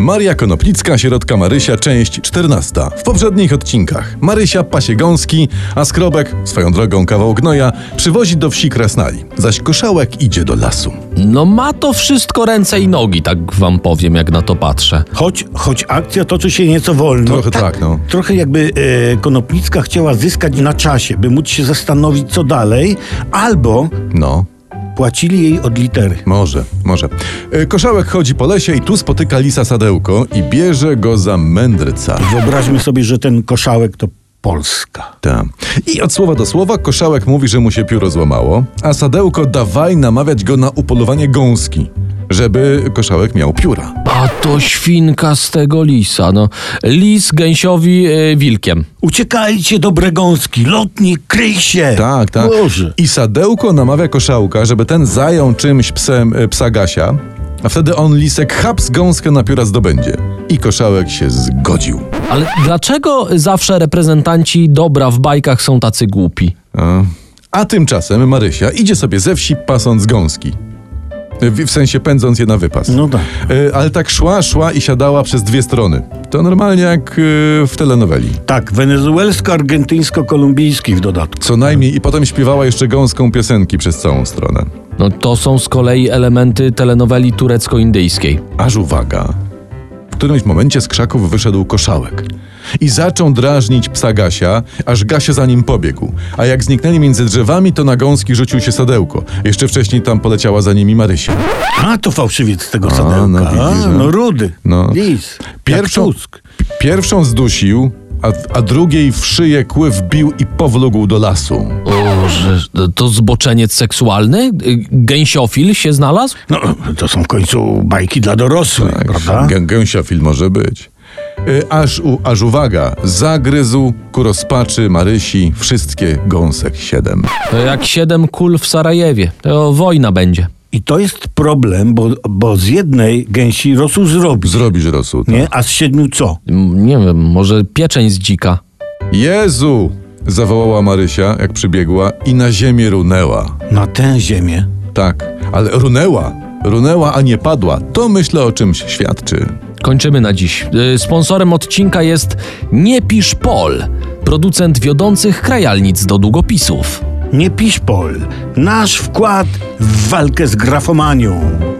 Maria Konoplicka, środka Marysia, część 14. W poprzednich odcinkach Marysia pasie gąski, a Skrobek, swoją drogą kawał gnoja, przywozi do wsi Krasnali, zaś Koszałek idzie do lasu. No ma to wszystko ręce i nogi, tak wam powiem, jak na to patrzę. Choć, choć akcja toczy się nieco wolno. Trochę tak, no. Trochę jakby e, Konopnicka chciała zyskać na czasie, by móc się zastanowić co dalej, albo No, płacili jej od litery. może, może. E, Koszałek chodzi po lesie i tu spotyka lisa sadełko i bierze go za mędrca. Wyobraźmy sobie, że ten koszałek to Polska. Ta. I od słowa do słowa Koszałek mówi, że mu się pióro złamało, a Sadełko dawaj namawiać go na upolowanie gąski, żeby Koszałek miał pióra. A to świnka z tego lisa, no. Lis gęsiowi e, wilkiem. Uciekajcie do Bregąski, lotnik, kryj się! Tak, tak. Boże. I Sadełko namawia Koszałka, żeby ten zajął czymś psem e, psa Gasia, a wtedy on lisek haps gąskę na pióra zdobędzie. I Koszałek się zgodził. Ale dlaczego zawsze reprezentanci dobra w bajkach są tacy głupi? A, a tymczasem Marysia idzie sobie ze wsi pasąc gąski. W, w sensie pędząc je na wypas. No tak. E, Ale tak szła, szła i siadała przez dwie strony. To normalnie jak e, w telenoweli. Tak, wenezuelsko-argentyńsko-kolumbijski w dodatku. Co najmniej i potem śpiewała jeszcze gąską piosenki przez całą stronę. No to są z kolei elementy telenoweli turecko-indyjskiej. Aż uwaga. W którymś momencie z krzaków wyszedł koszałek. I zaczął drażnić psa Gasia, aż Gasia za nim pobiegł. A jak zniknęli między drzewami, to na gąski rzucił się sadełko. Jeszcze wcześniej tam poleciała za nimi Marysia. A, to fałszywiec tego sadełka. no widzisz, A, no. no rudy. No. Lis. Pierwszą- Pierwszą... Jak Tusk. P- Pierwszą zdusił, a, a drugiej w szyję kły wbił i powlógł do lasu. O, że to zboczeniec seksualny? Y, Gęsiofil się znalazł? No, to są w końcu bajki dla dorosłych, Tak, prawda? Gę, gęsiofil może być. Y, Aż, u, aż uwaga, zagryzł ku rozpaczy Marysi wszystkie gąsek siedem. To jak siedem kul w Sarajewie. To wojna będzie. I to jest problem, bo, bo z jednej gęsi rosół zrobi, Zrobisz rosół. tak? nie? A z siedmiu co? M, Nie wiem, może pieczeń z dzika. Jezu! Zawołała Marysia, jak przybiegła i na ziemię runęła. Na tę ziemię. Tak, ale runęła, runęła, a nie padła. To myślę o czymś świadczy. Kończymy na dziś. Y, Sponsorem odcinka jest Nie Pisz Pol, producent wiodących krajalnic do długopisów. Nie pisz pol. Nasz wkład w walkę z grafomanią.